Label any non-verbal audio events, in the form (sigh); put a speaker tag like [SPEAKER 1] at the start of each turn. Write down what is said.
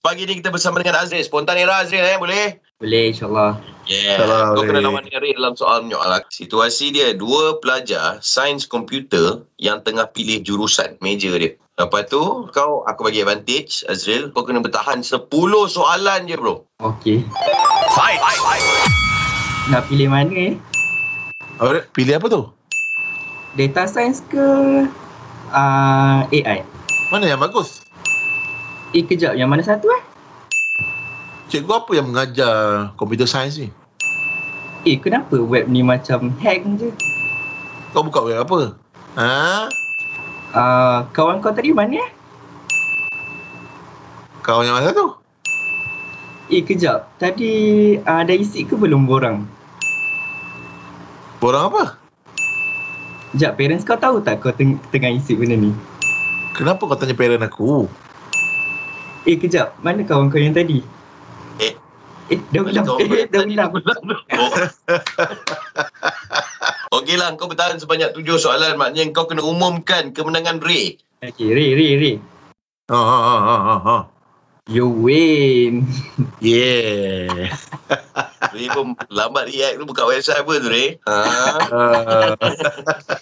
[SPEAKER 1] pagi ni kita bersama dengan Azril. Spontan era Azril eh, boleh?
[SPEAKER 2] Boleh insyaAllah.
[SPEAKER 1] Yeah.
[SPEAKER 3] InsyaAllah
[SPEAKER 1] Kau kena
[SPEAKER 3] boleh.
[SPEAKER 1] lawan dengan Ray dalam soal lah. menyoal. Situasi dia, dua pelajar sains komputer yang tengah pilih jurusan, meja dia. Lepas tu, kau aku bagi advantage, Azril. Kau kena bertahan 10 soalan je, bro.
[SPEAKER 2] Okey. Nak pilih mana eh?
[SPEAKER 3] Apa dia? Pilih apa tu?
[SPEAKER 2] Data science ke uh, AI?
[SPEAKER 3] Mana yang bagus?
[SPEAKER 2] Eh kejap yang mana satu eh?
[SPEAKER 3] Cikgu apa yang mengajar computer science ni?
[SPEAKER 2] Eh kenapa web ni macam hack je?
[SPEAKER 3] Kau buka web apa? Ha?
[SPEAKER 2] Uh, kawan kau tadi mana eh?
[SPEAKER 3] Kau yang mana tu?
[SPEAKER 2] Eh kejap tadi uh, dah isi ke belum borang?
[SPEAKER 3] Borang apa?
[SPEAKER 2] Sekejap parents kau tahu tak kau teng- tengah isi benda ni?
[SPEAKER 3] Kenapa kau tanya parent aku?
[SPEAKER 2] Eh kejap mana kawan kau yang tadi?
[SPEAKER 1] Eh.
[SPEAKER 2] Eh dah ulang.
[SPEAKER 1] Kau-
[SPEAKER 2] Eh dah ulang.
[SPEAKER 1] (laughs) Oh. Okey lah, kau bertahan sebanyak 7 soalan. Maknanya kau kena umumkan kemenangan Ray.
[SPEAKER 2] Okey Ray Ray Ray.
[SPEAKER 3] Ha ha ha ha ha, ha.
[SPEAKER 2] You win.
[SPEAKER 3] Yeah.
[SPEAKER 1] Ah. Ray pun lambat react tu buka website apa tu, Ray? Haa.
[SPEAKER 3] Uh,